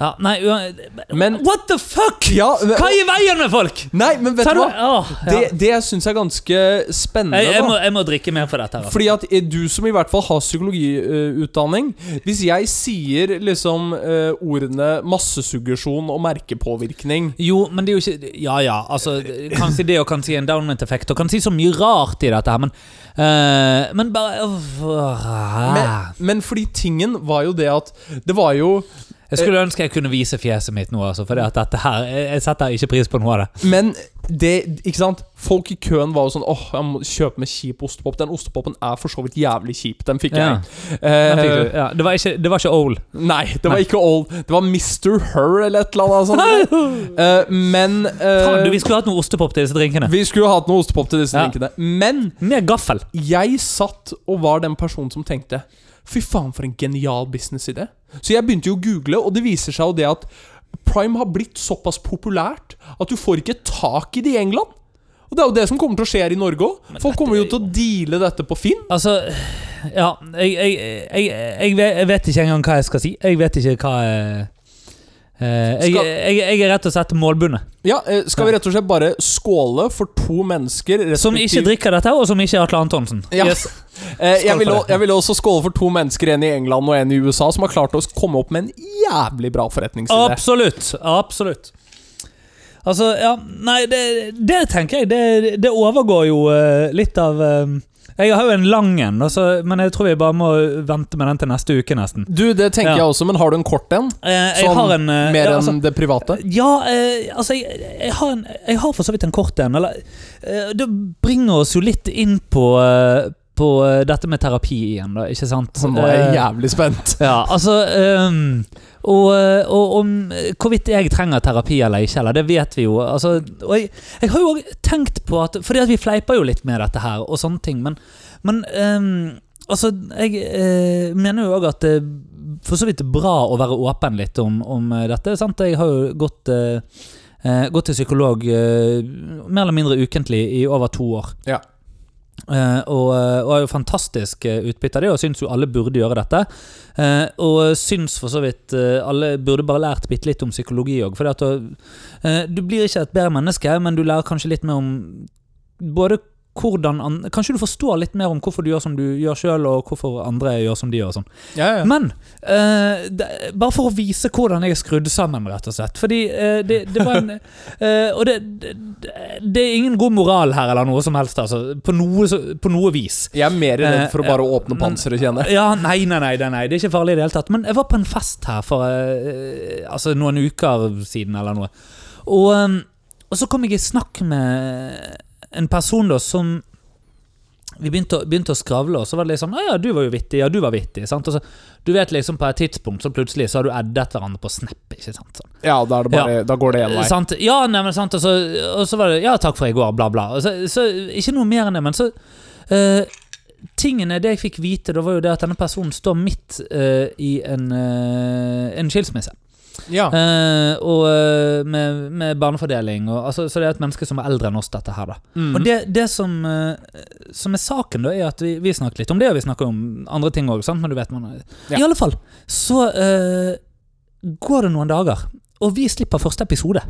[SPEAKER 1] Ja, nei, ua-
[SPEAKER 2] Men-
[SPEAKER 1] What the fuck?!
[SPEAKER 2] Ja, men-
[SPEAKER 1] Hva er i veien med folk?!
[SPEAKER 2] Nei, men vet
[SPEAKER 1] Sa
[SPEAKER 2] du
[SPEAKER 1] du-
[SPEAKER 2] hva?
[SPEAKER 1] Åh, ja.
[SPEAKER 2] Det, det jeg syns er ganske spennende,
[SPEAKER 1] jeg, jeg, må,
[SPEAKER 2] da.
[SPEAKER 1] jeg må drikke mer for dette. her altså.
[SPEAKER 2] Fordi at eh, du som i hvert fall har psykologiutdanning Hvis jeg sier liksom eh, ordene massesuggesjon og merkepåvirkning
[SPEAKER 1] Jo, men det er jo ikke Ja ja, altså kan si det og kan si en downment-effekt og kan si så mye rart i dette her, men eh, Men bare øh, øh,
[SPEAKER 2] men, men fordi tingen var jo det at Det var jo
[SPEAKER 1] Jeg skulle ønske jeg kunne vise fjeset mitt nå, altså, for det at dette her jeg, jeg setter ikke pris på noe av det.
[SPEAKER 2] Men det, ikke sant? Folk i køen var jo sånn Åh, jeg må kjøpe med kjip ostepop. Den ostepopen er for så vidt jævlig kjip. Den fikk
[SPEAKER 1] Ja.
[SPEAKER 2] jeg. Eh,
[SPEAKER 1] Den fikk du. Ja, det, var ikke, det var ikke old.
[SPEAKER 2] Nei, det var
[SPEAKER 1] Nei.
[SPEAKER 2] ikke old. Det var Mr. Her eller et eller annet sånt. Eh, men eh,
[SPEAKER 1] Faen, du, vi skulle hatt noe ostepop til disse drinkene.
[SPEAKER 2] Vi skulle hatt noe ostepop til disse
[SPEAKER 1] Ja.
[SPEAKER 2] drinkene. Men
[SPEAKER 1] Med gaffel.
[SPEAKER 2] jeg satt og var den personen som tenkte Fy faen, for en genial businessidé. Så jeg begynte jo å google, og det viser seg jo det at Prime har blitt såpass populært at du får ikke tak i det i England. Og det er jo det som kommer til å skje her i Norge òg. Folk kommer jo til å deale dette på Finn.
[SPEAKER 1] Altså Ja, jeg, jeg, jeg, jeg, ve- jeg vet ikke engang hva jeg skal si. Jeg vet ikke hva jeg eh, jeg,
[SPEAKER 2] Skal-
[SPEAKER 1] jeg, jeg er rett og slett målbundet.
[SPEAKER 2] Ja, eh, Skal vi rett og slett bare skåle for to mennesker
[SPEAKER 1] Som ikke drikker dette, og som ikke er Atle Antonsen.
[SPEAKER 2] Ja.
[SPEAKER 1] Yes.
[SPEAKER 2] Eh, jeg,
[SPEAKER 1] Skål
[SPEAKER 2] vil,
[SPEAKER 1] for
[SPEAKER 2] o-
[SPEAKER 1] det.
[SPEAKER 2] jeg vil også skåle for to mennesker, en i England og en i USA, som har klart å komme opp med en jævlig bra forretningsidé.
[SPEAKER 1] Absolutt. Absolutt. Altså, ja Nei, det, det tenker jeg. Det, det overgår jo eh, litt av eh, Jeg har jo en lang en, og så- men jeg tror vi bare må vente med den til neste uke, nesten.
[SPEAKER 2] Du, det tenker
[SPEAKER 1] Ja.
[SPEAKER 2] jeg også, men har du en kort en?
[SPEAKER 1] Eh, jeg
[SPEAKER 2] Sånn,
[SPEAKER 1] har en eh,
[SPEAKER 2] Mer
[SPEAKER 1] ja, altså,
[SPEAKER 2] enn det private?
[SPEAKER 1] Ja, eh, altså jeg, jeg, har en, jeg har for så vidt en kort en. Eller, eh, det bringer oss jo litt inn på, eh, på eh, dette med terapi igjen, da, ikke sant?
[SPEAKER 2] Så Sånn, nå er jeg
[SPEAKER 1] Eh,
[SPEAKER 2] jævlig spent.
[SPEAKER 1] ja, altså ehm, og, og om hvorvidt jeg trenger terapi eller ikke, eller det vet vi jo. Altså, og jeg, jeg har jo også tenkt på at Fordi at vi fleiper jo litt med dette her, og sånne ting, men, men ehm, altså, jeg eh, mener jo òg at det er for så vidt bra å være åpen litt om, om dette. Sant? Jeg har jo gått eh, eh, Gått til psykolog eh, mer eller mindre ukentlig i over to år.
[SPEAKER 2] Ja.
[SPEAKER 1] Eh, og, og er jo fantastisk eh, utbytte av det, og syns jo alle burde gjøre dette. Eh, og syns for så vidt eh, alle burde bare lært bitte litt om psykologi òg. For eh, du blir ikke et bedre menneske, men du lærer kanskje litt mer om både hvordan an Kanskje du forstår litt mer om hvorfor du gjør som du gjør sjøl, og hvorfor andre gjør som de gjør. og sånn
[SPEAKER 2] Ja, ja.
[SPEAKER 1] men eh, det, bare for å vise hvordan jeg er skrudd sammen, rett og slett. Fordi eh, det, det var en eh, Og det, det, det er ingen god moral her, eller noe som helst, altså. På noe, så- på noe vis.
[SPEAKER 2] Jeg er mer redd for å
[SPEAKER 1] Eh,
[SPEAKER 2] bare åpne
[SPEAKER 1] men-
[SPEAKER 2] panseret, kjenner jeg.
[SPEAKER 1] Ja, nei, nei, nei, nei, nei, det er ikke farlig i det hele tatt. Men jeg var på en fest her for eh, altså noen uker siden eller noe. Og, eh, og så kom jeg i snakk med en person da som vi begynte, å- begynte å skravle, og så var det liksom 'Å ja, du var jo vittig. Ja, du var vittig.' Sant? Og så, du vet liksom på et tidspunkt så plutselig så har du addet hverandre på Snap. ikke sant? Sånn.
[SPEAKER 2] Ja, da, er det bare, da går det én vei.
[SPEAKER 1] Sant? Ja, nei, men sant, og så, og så var det Ja, takk for i går, bla, bla. Og Så, så, ikke noe mer enn det, men så eh, Tingene det jeg fikk vite, da var jo det at denne personen står midt eh, i en, eh, en skilsmisse.
[SPEAKER 2] Ja.
[SPEAKER 1] Eh, og eh, med, med barnefordeling og altså, Så det er et menneske som er eldre enn oss, dette her, da.
[SPEAKER 2] Mhm.
[SPEAKER 1] Og det, det som, eh, som er saken, da, er at vi, vi snakker litt om det, og vi snakker om andre ting òg, men du vet man
[SPEAKER 2] Ja.
[SPEAKER 1] I alle fall så eh, går det noen dager, og vi slipper første episode.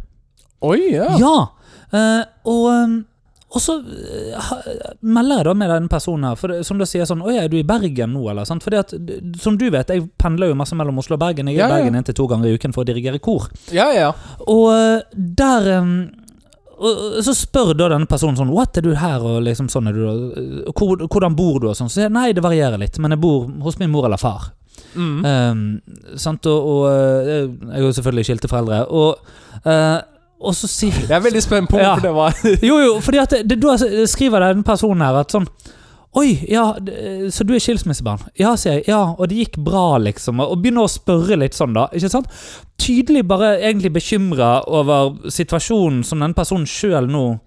[SPEAKER 2] Oi, ja.
[SPEAKER 1] Ja! Eh, og, um, og så eh, ha- melder jeg da med den personen her, for, det- som da sier sånn Å ja, er du i Bergen nå, eller? Sant? Fordi at, d- som du vet, jeg pendler jo masse mellom Oslo og Bergen. Jeg er
[SPEAKER 2] Ja,
[SPEAKER 1] i
[SPEAKER 2] ja.
[SPEAKER 1] Bergen inntil to ganger i uken for å dirigere kor.
[SPEAKER 2] ja, ja.
[SPEAKER 1] Og eh, der um, og og så spør da denne personen sånn What, er du her? Og liksom sånn er du da? Hvor, hvordan bor du? Og sånn. Så sier jeg nei, det varierer litt, men jeg bor hos min mor eller far.
[SPEAKER 2] Mm.
[SPEAKER 1] Ehm, sant? Og, og eh, jeg er jo selvfølgelig skilte foreldre. Og, eh, og så sier
[SPEAKER 2] Jeg er veldig spent på
[SPEAKER 1] Ja.
[SPEAKER 2] hvorfor det var
[SPEAKER 1] jo, jo, fordi at det, det, da skriver den personen her at sånn Oi, ja, det- så du er skilsmissebarn? Ja, sier jeg. Ja, og det gikk bra, liksom. Og begynner å spørre litt sånn, da. ikke sant? Tydelig bare egentlig bekymra over situasjonen som den personen sjøl nå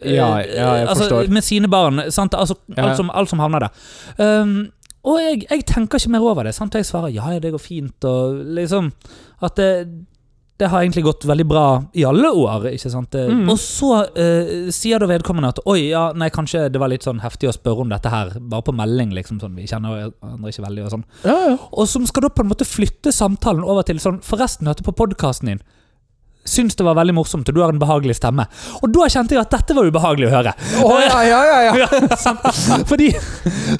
[SPEAKER 1] eh,
[SPEAKER 2] Ja, ja, jeg
[SPEAKER 1] altså,
[SPEAKER 2] forstår.
[SPEAKER 1] Med sine barn. sant? Altså,
[SPEAKER 2] Ja.
[SPEAKER 1] alt, som, alt som havner der. Um, og jeg, jeg tenker ikke mer over det. sant? Og Jeg svarer ja, ja, det går fint, og liksom At det, det har egentlig gått veldig bra i alle år. ikke sant? Det-
[SPEAKER 2] Mm.
[SPEAKER 1] Og så eh, sier da vedkommende at oi, ja, nei, kanskje det var litt sånn heftig å spørre om dette her, bare på melding, liksom, sånn, vi kjenner hverandre ikke veldig og sånn.
[SPEAKER 2] ja, ja.
[SPEAKER 1] Og som skal da på en måte flytte samtalen over til sånn, forresten hørte på podkasten din. Syns det var veldig morsomt, og du har en behagelig stemme. Og da kjente jeg at dette var ubehagelig å høre.
[SPEAKER 2] Å, ja, ja, ja, ja.
[SPEAKER 1] Ja, sant. Fordi,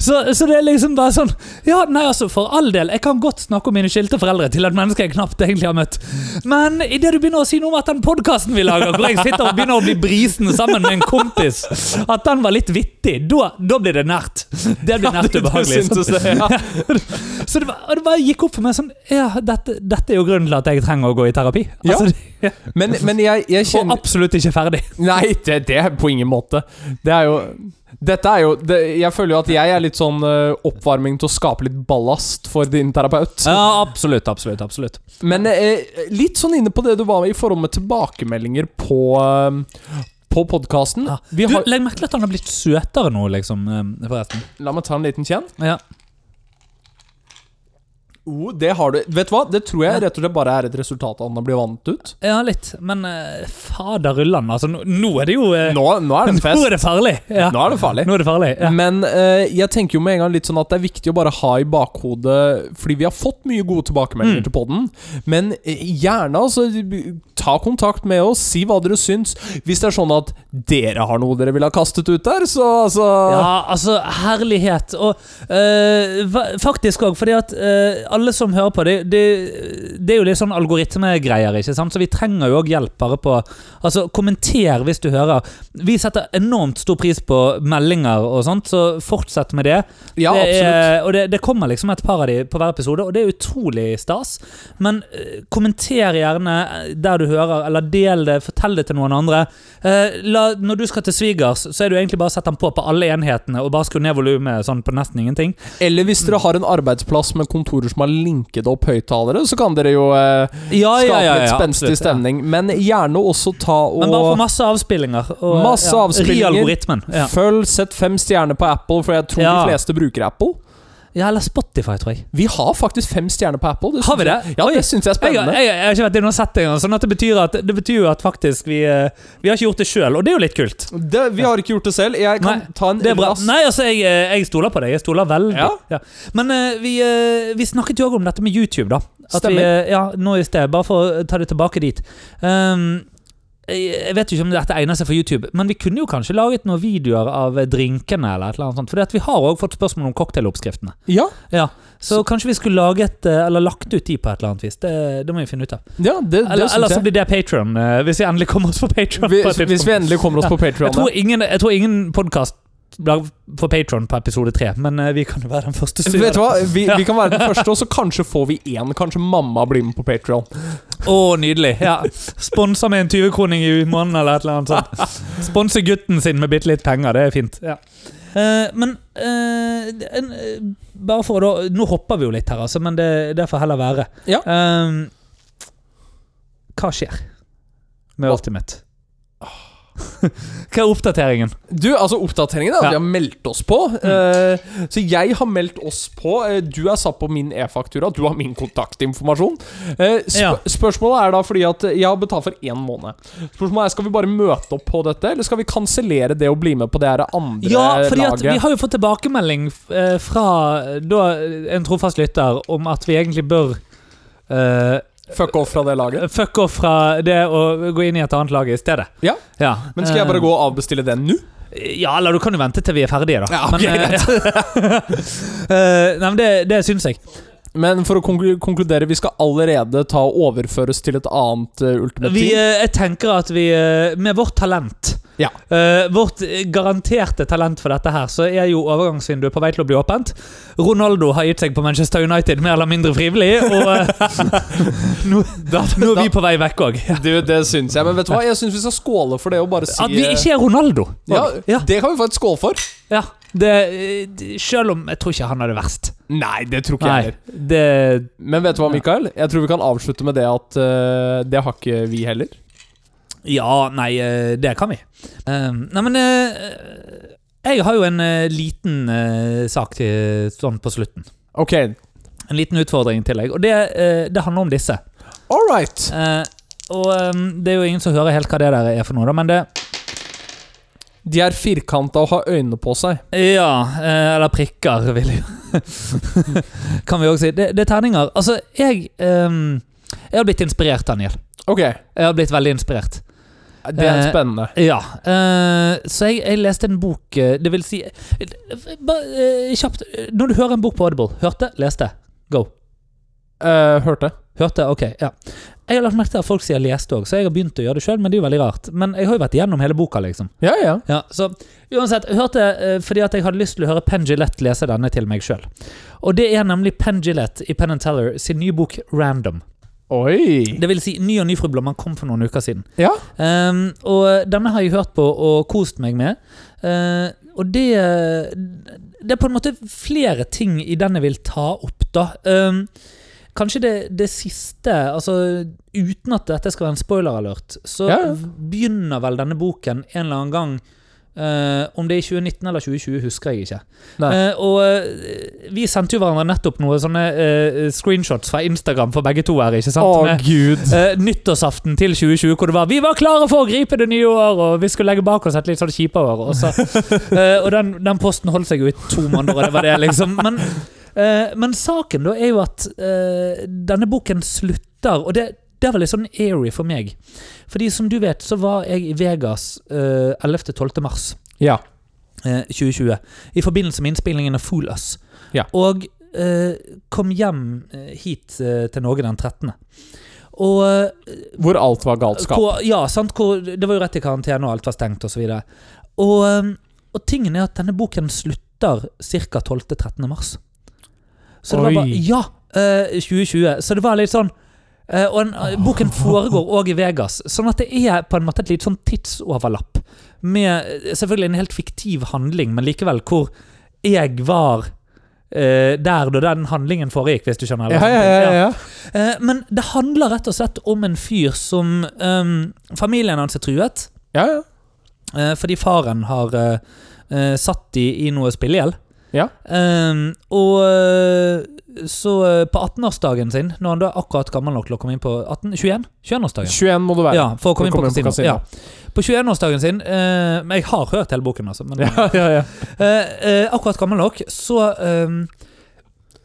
[SPEAKER 1] så, så det er liksom bare sånn Ja, nei altså, for all del, jeg kan godt snakke om mine skilte foreldre til et menneske jeg knapt egentlig har møtt, men idet du begynner å si noe om at den podkasten vi lager, hvor jeg sitter og begynner å bli brisen sammen med en kompis, at den var litt vittig, da, da blir det nært. Det blir nært
[SPEAKER 2] Du
[SPEAKER 1] ubehagelig.
[SPEAKER 2] syntes det, ja.
[SPEAKER 1] Så det, var, og det bare gikk opp for meg sånn Ja, dette, dette er jo grunnen til at jeg trenger å gå i terapi.
[SPEAKER 2] Ja.
[SPEAKER 1] Altså, det-
[SPEAKER 2] Men, men jeg, jeg
[SPEAKER 1] og
[SPEAKER 2] kjenner
[SPEAKER 1] absolutt ikke ferdig.
[SPEAKER 2] Nei, det, det er på ingen måte. Det er jo Dette er jo det, Jeg føler jo at jeg er litt sånn eh, oppvarming til å skape litt ballast for din terapeut.
[SPEAKER 1] Ja, absolutt, absolutt, absolutt.
[SPEAKER 2] Men eh, litt sånn inne på det du var med i forhold med tilbakemeldinger på eh, På podkasten.
[SPEAKER 1] Ja.
[SPEAKER 2] Vi
[SPEAKER 1] Du,
[SPEAKER 2] har
[SPEAKER 1] legg merke til at han har blitt søtere nå, liksom, eh, forresten.
[SPEAKER 2] La meg ta en liten kjenn.
[SPEAKER 1] Ja.
[SPEAKER 2] Oh, det har du. Vet du hva? Det tror jeg
[SPEAKER 1] Ja.
[SPEAKER 2] rett og slett bare er et resultat av at han har blitt vant ut.
[SPEAKER 1] Ja, litt. Men uh, fader rullan, altså. Nå, nå er det jo eh,
[SPEAKER 2] Nå, nå er det en
[SPEAKER 1] Nå
[SPEAKER 2] fest.
[SPEAKER 1] er det farlig! Ja.
[SPEAKER 2] Nå er det farlig.
[SPEAKER 1] Nå er det farlig. Ja.
[SPEAKER 2] Men eh, jeg tenker jo med en gang litt sånn at det er viktig å bare ha i bakhodet Fordi vi har fått mye gode tilbakemeldinger
[SPEAKER 1] Mm.
[SPEAKER 2] til podden. Men eh, gjerne altså ta kontakt med oss, si hva dere syns. Hvis det er sånn at dere har noe dere ville ha kastet ut der, så altså
[SPEAKER 1] Ja, altså, herlighet. Og eh, va- faktisk òg, fordi at eh, alle som hører på, det, det, det er jo litt sånn algoritmegreier, ikke sant? Så vi trenger jo òg hjelp bare på Altså, kommenter hvis du hører. Vi setter enormt stor pris på meldinger og sånt, så fortsett med det.
[SPEAKER 2] Ja,
[SPEAKER 1] det
[SPEAKER 2] absolutt.
[SPEAKER 1] Er, og det, det kommer liksom et par av de på hver episode, og det er utrolig stas. Men eh, kommenter gjerne eh, der du hører, eller del det, fortell det til noen andre. Eh, la, når du skal til svigers, så er det jo egentlig bare å sette den på på alle enhetene, og bare skru ned volumet sånn på nesten ingenting.
[SPEAKER 2] Eller hvis dere har en arbeidsplass med kontorer som har linket opp høyttalere, så kan dere jo eh,
[SPEAKER 1] Ja,
[SPEAKER 2] skape et
[SPEAKER 1] absolutt,
[SPEAKER 2] spenstig
[SPEAKER 1] ja.
[SPEAKER 2] stemning. Men gjerne også ta og
[SPEAKER 1] Men bare få masse avspillinger. Og,
[SPEAKER 2] Masse avspillinger.
[SPEAKER 1] Ri algoritmen. Ja.
[SPEAKER 2] Følg, sett fem stjerner på Apple, for jeg tror
[SPEAKER 1] Ja.
[SPEAKER 2] de fleste bruker Apple.
[SPEAKER 1] ja, eller Spotify, tror jeg.
[SPEAKER 2] Vi har faktisk fem stjerner på Apple.
[SPEAKER 1] Har vi
[SPEAKER 2] synes
[SPEAKER 1] det?
[SPEAKER 2] jeg- Ja,
[SPEAKER 1] Oi.
[SPEAKER 2] det syns jeg er
[SPEAKER 1] Jeg, har-
[SPEAKER 2] spennende.
[SPEAKER 1] jeg, jeg har ikke vært i noen setting, sånn at det betyr, at, det betyr jo at faktisk vi, eh, vi har ikke gjort det sjøl, og det er jo litt kult.
[SPEAKER 2] Det, vi har ikke gjort det selv. Jeg kan
[SPEAKER 1] Nei,
[SPEAKER 2] ta en
[SPEAKER 1] Det er bra.
[SPEAKER 2] rask-
[SPEAKER 1] Nei, altså, jeg, eh, jeg stoler på deg. Jeg stoler veldig.
[SPEAKER 2] Ja.
[SPEAKER 1] Men eh, vi, eh, vi snakket jo også om dette med YouTube, da. At vi,
[SPEAKER 2] Stemmer.
[SPEAKER 1] eh, ja, nå i sted, bare for å ta det tilbake dit. Um, jeg jeg vet jo ikke om dette egner seg for YouTube, men vi kunne jo kanskje laget noen videoer av eh, drinkene. eller et eller annet sånt, For vi har også fått spørsmål om cocktailoppskriftene.
[SPEAKER 2] Ja,
[SPEAKER 1] Ja, så, kanskje vi skulle laget, eh, eller lagt ut de på et eller annet vis. Det, det må vi finne ut av.
[SPEAKER 2] ja det, det
[SPEAKER 1] Eller, eller
[SPEAKER 2] syns
[SPEAKER 1] så
[SPEAKER 2] jeg.
[SPEAKER 1] blir det Patron, hvis vi endelig kommer oss på Patron.
[SPEAKER 2] Hvis, hvis vi endelig kommer oss på
[SPEAKER 1] Jeg tror
[SPEAKER 2] Patrion.
[SPEAKER 1] ingen, jeg tror ingen podkast for Patron på episode tre, men eh, vi kan jo være den første som
[SPEAKER 2] Vet du
[SPEAKER 1] gjør det.
[SPEAKER 2] hva? Vi, vi kan være den første, og så kanskje får vi én. Kanskje mamma blir med på Patrion.
[SPEAKER 1] Å, nydelig. Ja. Sponsa med en 20-kroning i måneden eller et eller annet sånt. Sponse gutten sin med bitte litt penger, det er fint. Ja. Eh, men eh, en, eh, bare for å da Nå hopper vi jo litt her, altså, men det, det får heller være.
[SPEAKER 2] Ja.
[SPEAKER 1] Eh, hva skjer med
[SPEAKER 2] Hva?
[SPEAKER 1] Ultimate? Hva er oppdateringen?
[SPEAKER 2] Du, altså Oppdateringen er at
[SPEAKER 1] Ja. Mm.
[SPEAKER 2] vi har meldt oss på. Eh, så jeg har meldt oss på. Eh, du er satt på min e-faktura. Du har min kontaktinformasjon. Eh, sp
[SPEAKER 1] Ja.
[SPEAKER 2] Spørsmålet er da fordi at jeg har betalt for én måned. Spørsmålet er, Skal vi bare møte opp på dette, eller skal vi kansellere det og bli med på det her andre
[SPEAKER 1] Ja, fordi at
[SPEAKER 2] laget?
[SPEAKER 1] vi har jo fått tilbakemelding eh, fra da, en trofast lytter om at vi egentlig bør eh,
[SPEAKER 2] Fuck off fra det laget.
[SPEAKER 1] fuck off fra det å gå inn i et annet lag i stedet.
[SPEAKER 2] Ja. Men skal jeg bare gå og avbestille den nå?
[SPEAKER 1] Eh, Ja, eller du kan jo vente til vi er ferdige, da.
[SPEAKER 2] Ja, ok,
[SPEAKER 1] men, eh, Eh, nei, men det, det syns jeg.
[SPEAKER 2] Men for å konklu- konkludere, vi skal allerede ta og overføres til et annet uh, Ultimate
[SPEAKER 1] Vi,
[SPEAKER 2] Team.
[SPEAKER 1] eh, jeg tenker at vi, eh, med vårt talent
[SPEAKER 2] Ja.
[SPEAKER 1] eh, Vårt eh, garanterte talent for dette her, så er jo overgangsvinduet på vei til å bli åpent. Ronaldo har gitt seg på Manchester United mer eller mindre frivillig, og eh, nå, nå er vi på vei vekk òg.
[SPEAKER 2] Du, det syns jeg. Men vet du hva, jeg syns vi skal skåle for det og bare si
[SPEAKER 1] At vi
[SPEAKER 2] eh,
[SPEAKER 1] ikke er Ronaldo.
[SPEAKER 2] ja,
[SPEAKER 1] ja,
[SPEAKER 2] det kan vi få et skål for.
[SPEAKER 1] ja. Det, eh, d- selv om jeg tror ikke han er det verst.
[SPEAKER 2] Nei, det tror ikke
[SPEAKER 1] Nei,
[SPEAKER 2] jeg heller.
[SPEAKER 1] det
[SPEAKER 2] Men vet du hva, Mikael? Jeg tror vi kan avslutte med det at eh, det har ikke vi heller.
[SPEAKER 1] Ja, nei, eh, det kan vi. Eh, Nei, men eh, Jeg har jo en eh, liten eh, sak til sånn på slutten.
[SPEAKER 2] Ok,
[SPEAKER 1] En liten utfordring til deg, og det, eh, det handler om disse.
[SPEAKER 2] all right.
[SPEAKER 1] Eh, Og eh, det er jo ingen som hører helt hva det der er for noe, da, men det
[SPEAKER 2] De er firkanta og har øynene på seg.
[SPEAKER 1] Ja, eh, eller prikker, vil jeg Kan vi òg si. Det, det er terninger. Altså, jeg eh, Jeg har blitt inspirert, Daniel.
[SPEAKER 2] Ok,
[SPEAKER 1] Jeg har blitt veldig inspirert.
[SPEAKER 2] det er
[SPEAKER 1] Eh,
[SPEAKER 2] spennende.
[SPEAKER 1] Ja. eh, så jeg, jeg leste en bok eh, Det vil si eh, bare, eh, Kjapt. eh, Når du hører en bok på Audible, hørte, leste, go.
[SPEAKER 2] Eh, hørte.
[SPEAKER 1] Hørte? Ok, ja. Jeg har lagt merke til at folk sier leste òg, så jeg har begynt å gjøre det sjøl. Men det er jo veldig rart. Men jeg har jo vært igjennom hele boka, liksom.
[SPEAKER 2] Ja, ja.
[SPEAKER 1] Ja, så uansett, hørte eh, fordi at jeg hadde lyst til å høre Penn Gillette lese denne til meg sjøl. Og det er nemlig Penn Gillette i Penn Teller sin nye bok Random.
[SPEAKER 2] Oi.
[SPEAKER 1] Det vil si Ny og ny fru Blomman kom for noen uker siden.
[SPEAKER 2] Ja.
[SPEAKER 1] Ehm, og denne har jeg hørt på og kost meg med. Eh, og det Det er på en måte flere ting i den jeg vil ta opp, da. Ehm, kanskje det, det siste, altså uten at dette skal være en spoiler-alert, så
[SPEAKER 2] Ja, ja.
[SPEAKER 1] begynner vel denne boken en eller annen gang eh, om det er i 2019 eller 2020, husker jeg ikke.
[SPEAKER 2] Nei.
[SPEAKER 1] Eh, og eh, vi sendte jo hverandre nettopp noen sånne eh, screenshots fra Instagram for begge to her. ikke
[SPEAKER 2] Å,
[SPEAKER 1] sant? Med-
[SPEAKER 2] gud.
[SPEAKER 1] Eh, nyttårsaften til 2020, hvor det var 'Vi var klare for å gripe det nye år', og vi skulle legge bak oss et litt sånn kjipe år. Og, så, eh, og den, den posten holdt seg jo i to måneder, og det var det, liksom. Men, eh, men saken da er jo at eh, denne boken slutter, og det, det var litt sånn airy for meg. Fordi som du vet, så var jeg i Vegas eh, 11.-12. mars
[SPEAKER 2] Ja.
[SPEAKER 1] eh, 2020 i forbindelse med innspillingen av Fool Us.
[SPEAKER 2] Ja.
[SPEAKER 1] Og eh, kom hjem eh, hit eh, til Norge den 13. Og eh,
[SPEAKER 2] Hvor alt var galskap.
[SPEAKER 1] hvor, ja, sant, hvor, det var jo rett i karantene, og alt var stengt osv. Og, og, eh, og tingen er at denne boken slutter ca. 12.-13. mars. Så det
[SPEAKER 2] Oi.
[SPEAKER 1] var bare Ja! eh, 2020. Så det var litt sånn eh, Og en, eh, boken foregår òg i Vegas, sånn at det er på en måte et litt sånn tidsoverlapp. Med eh, selvfølgelig en helt fiktiv handling, men likevel hvor jeg var eh, der da den handlingen foregikk, hvis du skjønner. eller
[SPEAKER 2] Ja, ja,
[SPEAKER 1] sånne ting.
[SPEAKER 2] ja, ja, ja.
[SPEAKER 1] Eh, men det handler rett og slett om en fyr som ehm, Familien hans er truet
[SPEAKER 2] ja, ja.
[SPEAKER 1] eh, fordi faren har eh, eh, satt de i noe spillegjeld.
[SPEAKER 2] Ja.
[SPEAKER 1] Ehm, og eh, så eh, på 18-årsdagen sin, når han da er akkurat gammel nok til å komme inn på 18, 21? 21-årsdagen.
[SPEAKER 2] 21 må du være.
[SPEAKER 1] Ja, for å komme inn på
[SPEAKER 2] For å komme inn på
[SPEAKER 1] kasino.
[SPEAKER 2] kasino.
[SPEAKER 1] Ja. På 21-årsdagen sin eh, men Jeg har hørt hele boken, altså. Men,
[SPEAKER 2] Ja, ja, ja.
[SPEAKER 1] Eh, eh, akkurat gammel nok, så um,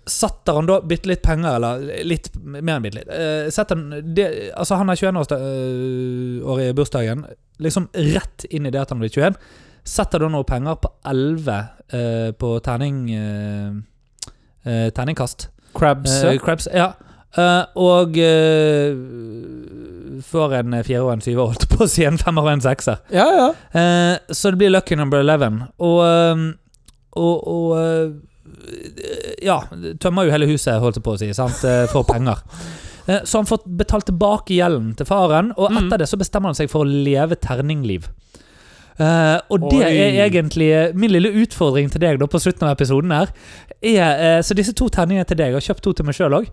[SPEAKER 1] satte han da bitte litt penger, eller litt mer enn bitte litt eh, setter han, det, altså Han er 21-årig i bursdagen, liksom rett inn i det at han blir 21. Setter da noen penger på 11 eh, på terning eh, eh, terningkast.
[SPEAKER 2] Crabs.
[SPEAKER 1] Eh, Krebs, ja. Eh, og eh, får en firer og en syver, holdt jeg på å si, en femmer og en sekser.
[SPEAKER 2] ja, ja.
[SPEAKER 1] Eh, så det blir lucky number 11. Og, ehm, og, og eh, Ja, tømmer jo hele huset, holdt jeg på å si, sant? eh, for penger. Eh, Så han får betalt tilbake gjelden til faren, og
[SPEAKER 2] Mm.
[SPEAKER 1] etter det så bestemmer han seg for å leve terningliv. Eh, og det
[SPEAKER 2] Oi.
[SPEAKER 1] er egentlig eh, min lille utfordring til deg da på slutten av episoden. her er, eh, Så disse to terningene til deg, jeg har kjøpt to til meg sjøl òg.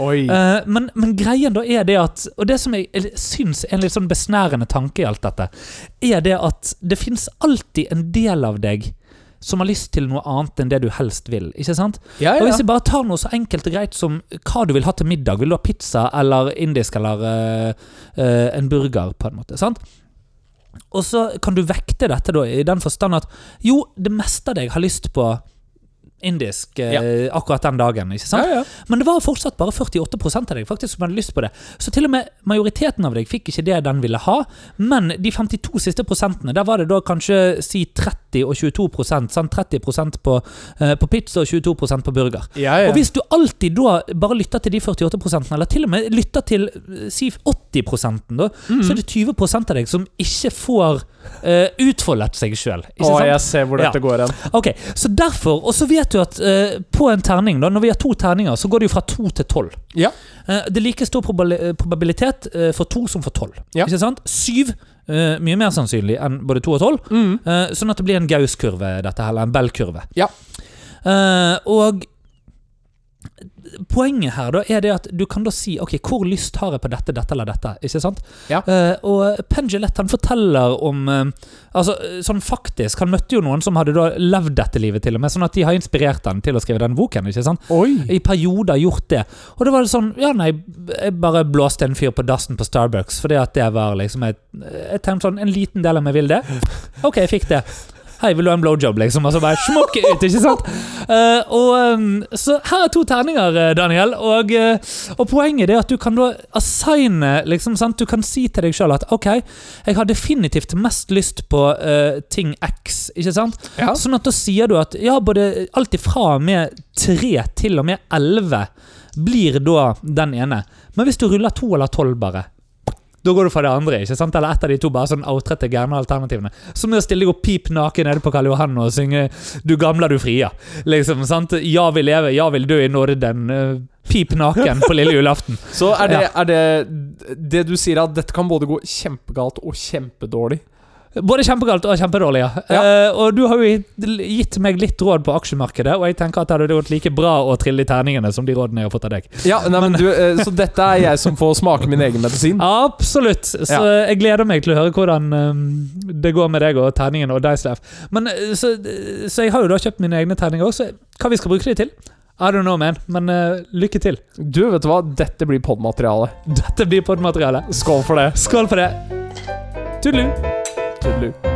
[SPEAKER 2] Oi.
[SPEAKER 1] Eh, men, men greien da er det at Og det som jeg el- syns er en litt sånn besnærende tanke i alt dette, er det at det fins alltid en del av deg som har lyst til noe annet enn det du helst vil. ikke sant?
[SPEAKER 2] Ja,
[SPEAKER 1] Og
[SPEAKER 2] ja.
[SPEAKER 1] Hvis jeg bare tar noe så enkelt og greit som hva du vil ha til middag. Vil du ha pizza eller indisk eller eh, eh, en burger, på en måte? sant? Og så kan du vekte dette da i den forstand at jo, det meste av deg har lyst på indisk eh, akkurat den dagen. ikke sant?
[SPEAKER 2] ja, ja.
[SPEAKER 1] Men det var fortsatt bare 48 av deg faktisk som hadde lyst på det. Så til og med majoriteten av deg fikk ikke det den ville ha. Men de 52 siste prosentene, der var det da kanskje si 30 og 22 sant? 30 på, eh, på pizza og 22 på burger.
[SPEAKER 2] ja, ja.
[SPEAKER 1] Og hvis du alltid da bare lytter til de 48 eller til og med lytter til eh, si 80 da,
[SPEAKER 2] Mm.
[SPEAKER 1] så er det 20 av deg som ikke får eh, utfoldet seg sjøl.
[SPEAKER 2] Å, jeg ser hvor dette går hen.
[SPEAKER 1] Ok, så derfor, og så vet du at eh, på en terning, da, når vi har to terninger, så går det jo fra to til tolv.
[SPEAKER 2] Ja.
[SPEAKER 1] Eh, det er like stor probali- eh, probabilitet eh, for to som for tolv.
[SPEAKER 2] Ja.
[SPEAKER 1] Ikke sant? Syv, eh, mye mer sannsynlig enn både to og tolv.
[SPEAKER 2] Mm.
[SPEAKER 1] Eh, sånn at det blir en Gauss-kurve, dette her, eller en Bell-kurve.
[SPEAKER 2] Ja.
[SPEAKER 1] Eh, og poenget her da er det at du kan da si ok, hvor lyst har jeg på dette, dette eller dette. ikke sant?
[SPEAKER 2] Ja.
[SPEAKER 1] Eh, og Pengelett han forteller om eh, altså eh, sånn faktisk, Han møtte jo noen som hadde da levd dette livet, til og med, sånn at de har inspirert han til å skrive den boken. ikke sant?
[SPEAKER 2] Oi.
[SPEAKER 1] i perioder gjort det. Og det var det sånn Ja, nei, jeg bare blåste en fyr på dassen på Starbucks fordi at det var liksom et, Jeg tenkte sånn En liten del av meg vil det. Ok, jeg fikk det. Hei, vil du ha en blowjob, liksom? Og så bare smokke ut, ikke sant? Eh, og um, Så her er to terninger, eh, Daniel. Og, eh, og poenget er at du kan da assigne liksom, sant? Du kan si til deg sjøl at OK, jeg har definitivt mest lyst på eh, ting X, ikke sant?
[SPEAKER 2] Ja.
[SPEAKER 1] Sånn at da sier du at ja, både alt ifra og med tre til og med elleve blir da den ene. Men hvis du ruller to eller tolv bare, da går du for det andre, ikke sant? Eller ett av de to bare sånn outrette gærne alternativene. Som å stille deg opp pip naken nede på Karl Johan og synge 'Du gamla, du fria'. Liksom, sant? Ja vil leve, ja vil dø i nåden. eh, Pip naken på lille julaften.
[SPEAKER 2] Så er det, er det Det du sier, at dette kan både gå kjempegalt og kjempedårlig.
[SPEAKER 1] Både kjempegalt og kjempedårlig, ja. Eh, og du har jo gitt- gitt meg litt råd på aksjemarkedet, og jeg tenker at det hadde gått like bra å trille i terningene som de rådene jeg har fått av deg.
[SPEAKER 2] Ja, nei, men du, eh, Så dette er jeg som får smake min egen medisin?
[SPEAKER 1] Absolutt. Så jeg gleder meg til å høre hvordan eh, det går med deg og terningen og Dicelaf. Men eh, så, så jeg har jo da kjøpt mine egne terninger òg, så hva vi skal bruke de til? I don't know, man. Men eh, lykke til.
[SPEAKER 2] Du, vet du hva? Dette blir podmateriale.
[SPEAKER 1] Dette blir podmateriale.
[SPEAKER 2] Skål for det.
[SPEAKER 1] Skål for det. Tudelu.
[SPEAKER 2] Tudelu.